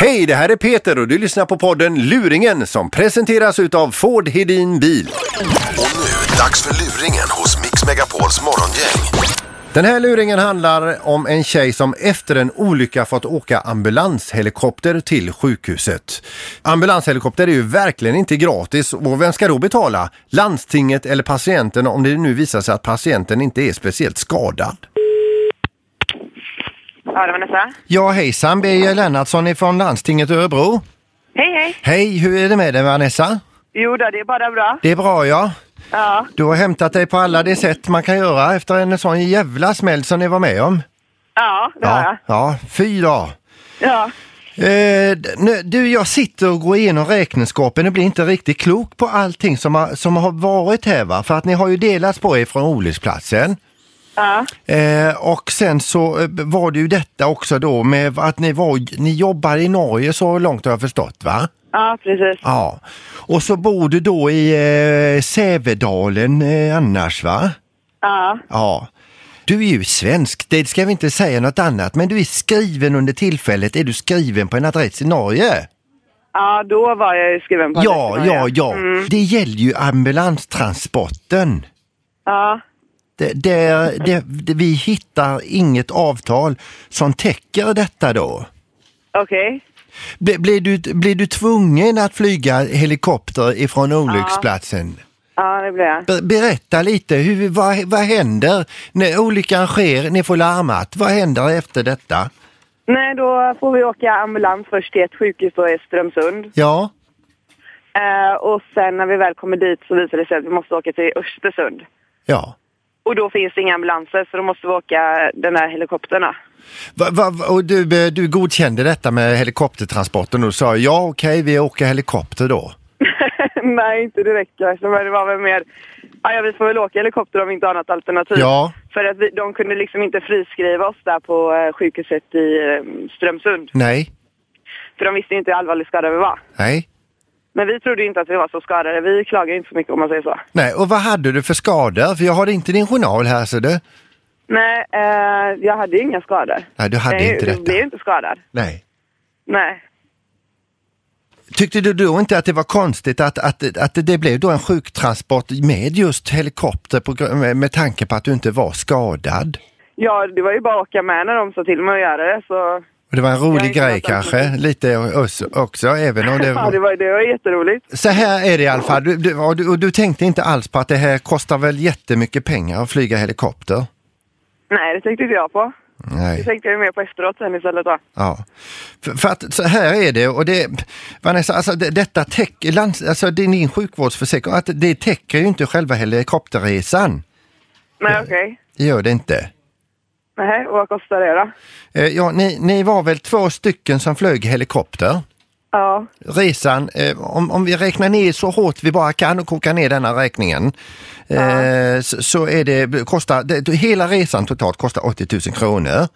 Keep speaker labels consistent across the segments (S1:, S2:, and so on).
S1: Hej, det här är Peter och du lyssnar på podden Luringen som presenteras utav Ford Hedin Bil.
S2: Och nu, dags för luringen hos Mix Megapols morgongäng.
S1: Den här luringen handlar om en tjej som efter en olycka fått åka ambulanshelikopter till sjukhuset. Ambulanshelikopter är ju verkligen inte gratis och vem ska då betala? Landstinget eller patienten om det nu visar sig att patienten inte är speciellt skadad?
S3: Ja, det var Vanessa.
S1: Ja hejsan, Birger Lennartsson från landstinget i Örebro.
S3: Hej, hej.
S1: Hej, hur är det med dig Vanessa?
S3: Jo då, det är bara bra.
S1: Det är bra ja.
S3: Ja,
S1: Du har hämtat dig på alla de sätt man kan göra efter en sån jävla smäll som ni var med om.
S3: ja det har jag.
S1: ja fy då.
S3: Ja.
S1: Eh, d- nu, du, jag sitter och går igenom räkenskapen och blir inte riktigt klok på allting som har, som har varit här va? För att ni har ju delats på er från olycksplatsen.
S3: Ja.
S1: Eh, och sen så eh, var det ju detta också då med att ni, var, ni jobbar i Norge så långt har jag förstått va?
S3: ja, precis.
S1: Ja. Och så bor du då i eh, Sävedalen eh, annars va?
S3: Ja,
S1: Ja. Du är ju svensk, det ska vi inte säga något annat, men du är skriven under tillfället, är du skriven på en adress i Norge?
S3: ja då var jag ju skriven på
S1: Ja,
S3: adressen,
S1: ja, ja. Det gäller ju ambulanstransporten.
S3: Ja,
S1: Det, det, det, det, vi hittar inget avtal som täcker detta då.
S3: okej.
S1: Blir, blir, du, blir du tvungen att flyga helikopter ifrån olycksplatsen?
S3: Ja, det blev jag.
S1: Ber- Berätta lite, hur, vad, vad händer när olyckan sker? Ni får larmat. Vad händer efter detta?
S3: Nej, då får vi åka ambulans först till ett sjukhus då i Strömsund.
S1: Ja,
S3: Eh, och sen när vi väl kommer dit så visar det sig att vi måste åka till Östersund.
S1: ja.
S3: Och då finns det inga ambulanser så då måste vi åka den här helikoptern. då.
S1: Va, va, va- och du, eh, du godkände detta med helikoptertransporten och sa ja okej vi åker helikopter då.
S3: Nej, inte direkt kanske, men det var väl mer... Ja, ja, vi får väl åka helikopter om vi inte har något alternativ.
S1: Ja.
S3: För att vi, de kunde liksom inte friskriva oss där på eh, sjukhuset i eh, Strömsund.
S1: Nej,
S3: För de visste ju inte hur allvarligt skadade vi var.
S1: nej,
S3: Men vi trodde ju inte att vi var så skadade. Vi klagar ju inte så mycket om man säger så.
S1: nej. Och vad hade du för skador? För jag har inte din journal här så du.
S3: Nej, eh, jag hade ju inga skador.
S1: Nej, du hade
S3: Nej,
S1: inte
S3: jag
S1: detta.
S3: blev ju inte skadad.
S1: Nej.
S3: Nej.
S1: Tyckte du då inte att det var konstigt att, att, att det blev då en sjuktransport med just helikopter på, gr- med, med tanke på att du inte var skadad?
S3: Ja, det var ju bara att åka med när de sa till mig att göra det. Så...
S1: Och det var en
S3: Jag är
S1: rolig
S3: inte
S1: grej
S3: något
S1: kanske,
S3: alternativ.
S1: lite också, också även om det
S3: Ja, det var, det var jätteroligt.
S1: Så här är det i alla fall, du, du, och du, och du tänkte inte alls på att det här kostar väl jättemycket pengar att flyga helikopter?
S3: Nej, det tänkte inte jag på. Det
S1: Nej.
S3: tänkte jag ju mer på efteråt sen istället då.
S1: Ja. För, för att så här är det, och det, Vanessa, alltså det, detta täcker, lands- alltså det är din sjukvårdsförsäkring, att det täcker ju inte själva helikopterresan.
S3: Nej, okej.
S1: Det gör det inte.
S3: Nej, och vad kostar det då?
S1: Eh, ja, ni, ni var väl två stycken som flög helikopter?
S3: Ja,
S1: resan, eh, om, om vi räknar ner så hårt vi bara kan och kokar ner denna räkningen, eh, så, så är det, kostar, det, hela resan totalt kostar 80 000 kronor.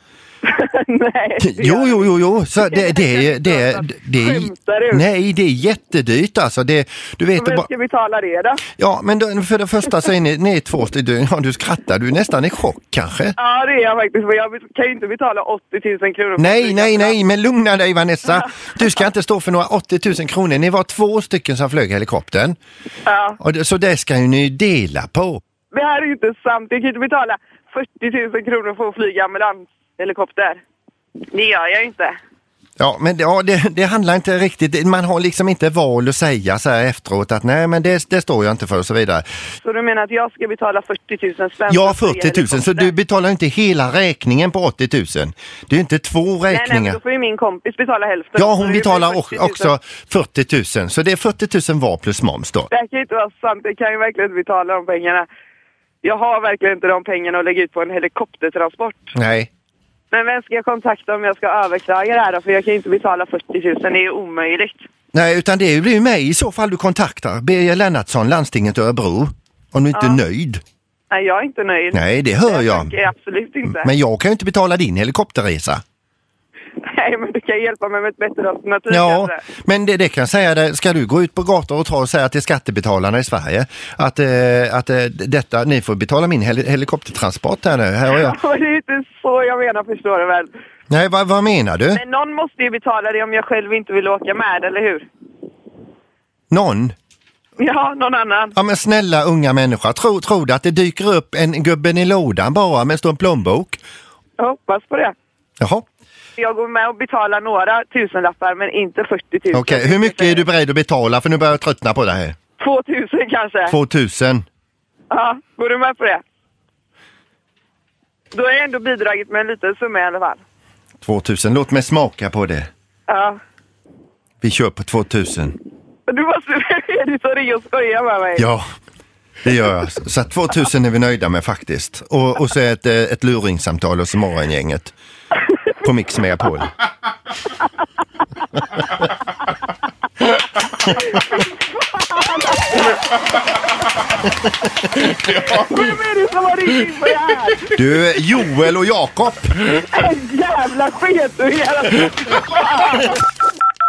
S3: nej. det gör
S1: Jo, jo, jo, jo. Så det, det, det, det,
S3: Skämtar du?
S1: nej, det är jättedyrt alltså. Det, du vet,
S3: Vem
S1: bara-
S3: ska betala det då?
S1: ja, men då, för det första så är ni, ni är två stycken, ja, du skrattar, du är nästan i chock kanske.
S3: Ja, det är jag faktiskt. För jag kan ju inte betala 80 000 kronor. för
S1: Nej,
S3: en
S1: nej,
S3: flygplats.
S1: nej, men lugna dig Vanessa. Du ska inte stå för några 80 000 kronor. Ni var två stycken som flög helikoptern.
S3: Ja,
S1: Och det, så det ska ju ni dela på.
S3: det här är ju inte sant. Jag kan ju inte betala 40 000 kronor för att flyga ambulanshelikopter. Det gör jag ju inte.
S1: Ja, men det, ja, det, det handlar inte riktigt, det- man har liksom inte val att säga så här efteråt att nej men det, det står jag inte för och så vidare.
S3: Så du menar att jag ska betala 40 000 spänn?
S1: Jag har
S3: för att flyga
S1: 40 000 så
S3: helikopter?
S1: du betalar inte hela räkningen på 80 000. Det är ju inte två
S3: Nej, nej, men
S1: räkningar.
S3: då får ju min kompis betala hälften.
S1: Ja,
S3: Så
S1: hon
S3: det blir
S1: betalar
S3: 40
S1: o-
S3: 000.
S1: också 40 000 så det är 40 000 var plus moms då.
S3: Det här kan ju inte vara sant. Jag kan ju verkligen inte betala de pengarna. Jag har verkligen inte de pengarna att lägga ut på en helikoptertransport.
S1: Nej,
S3: Men vem ska jag kontakta om jag ska överklaga det här då? För jag kan ju inte betala 40 000, det är ju omöjligt.
S1: nej utan det blir ju mig i så fall du kontaktar, Birger Lennartsson, landstinget Örebro. Om du inte är nöjd.
S3: Nej, jag är inte nöjd.
S1: Nej, det hör
S3: jag.
S1: jag.
S3: tänker absolut inte.
S1: Men jag kan ju inte betala din helikopterresa.
S3: Nej, men du kan hjälpa mig med ett bättre alternativ
S1: Ja,
S3: kanske.
S1: men det, det kan jag säga, det, ska du gå ut på gator och ta och säga till skattebetalarna i Sverige att, eh, att eh, detta, ni får betala min hel helikoptertransport här nu. Här har jag.
S3: Ja, men det är inte så jag menar, förstår du väl?
S1: Nej, vad, vad menar du?
S3: Men någon måste ju betala det om jag själv inte vill åka med, eller hur?
S1: Någon?
S3: Ja, någon annan.
S1: Ja men snälla unga människa, tror tro du att det dyker upp en gubben i lådan bara med en stor plånbok?
S3: Jag hoppas på det.
S1: Jaha,
S3: Jag går med och betalar några tusenlappar, men inte 40 000.
S1: okej. Hur mycket är du beredd att betala? För nu börjar jag tröttna på det här.
S3: 2 000 kanske.
S1: 2000.
S3: Ja, går du med på det? Då har jag ändå bidragit med en liten summa i alla fall.
S1: 2000, låt mig smaka på det.
S3: Ja.
S1: Vi kör på 2000.
S3: Du måste är du så ring och skoja med mig.
S1: Ja, det gör jag. alltså. Så att 2000 är vi nöjda med faktiskt. Och, och så ett, eh, ett luringssamtal hos morgongänget. På Mix Megapol.
S3: Vem är det som har ringt in på det här?
S1: Du, Joel och Jakob.
S3: En jävla sketunge!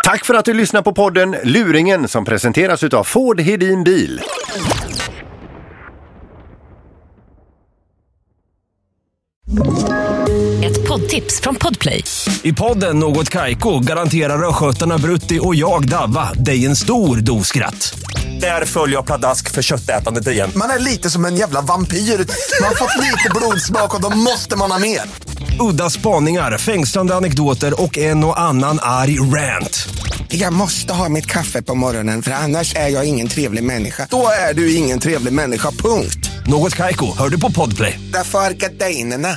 S1: Tack för att du lyssnar på podden Luringen som presenteras utav Ford Hedin Bil.
S4: Ett poddtips från Podplay.
S5: I podden Något Kaiko garanterar östgötarna Brutti och jag, Davva, dig en stor dos skratt. Där följer jag pladask för köttätandet igen.
S6: Man är lite som en jävla vampyr. Man har fått lite blodsmak och då måste man ha mer.
S5: Udda spaningar, fängslande anekdoter och en och annan arg rant.
S7: Jag måste ha mitt kaffe på morgonen för annars är jag ingen trevlig människa.
S6: Då är du ingen trevlig människa, punkt.
S5: Något Kaiko, hör du på Podplay.
S7: Därför arkadeinerna.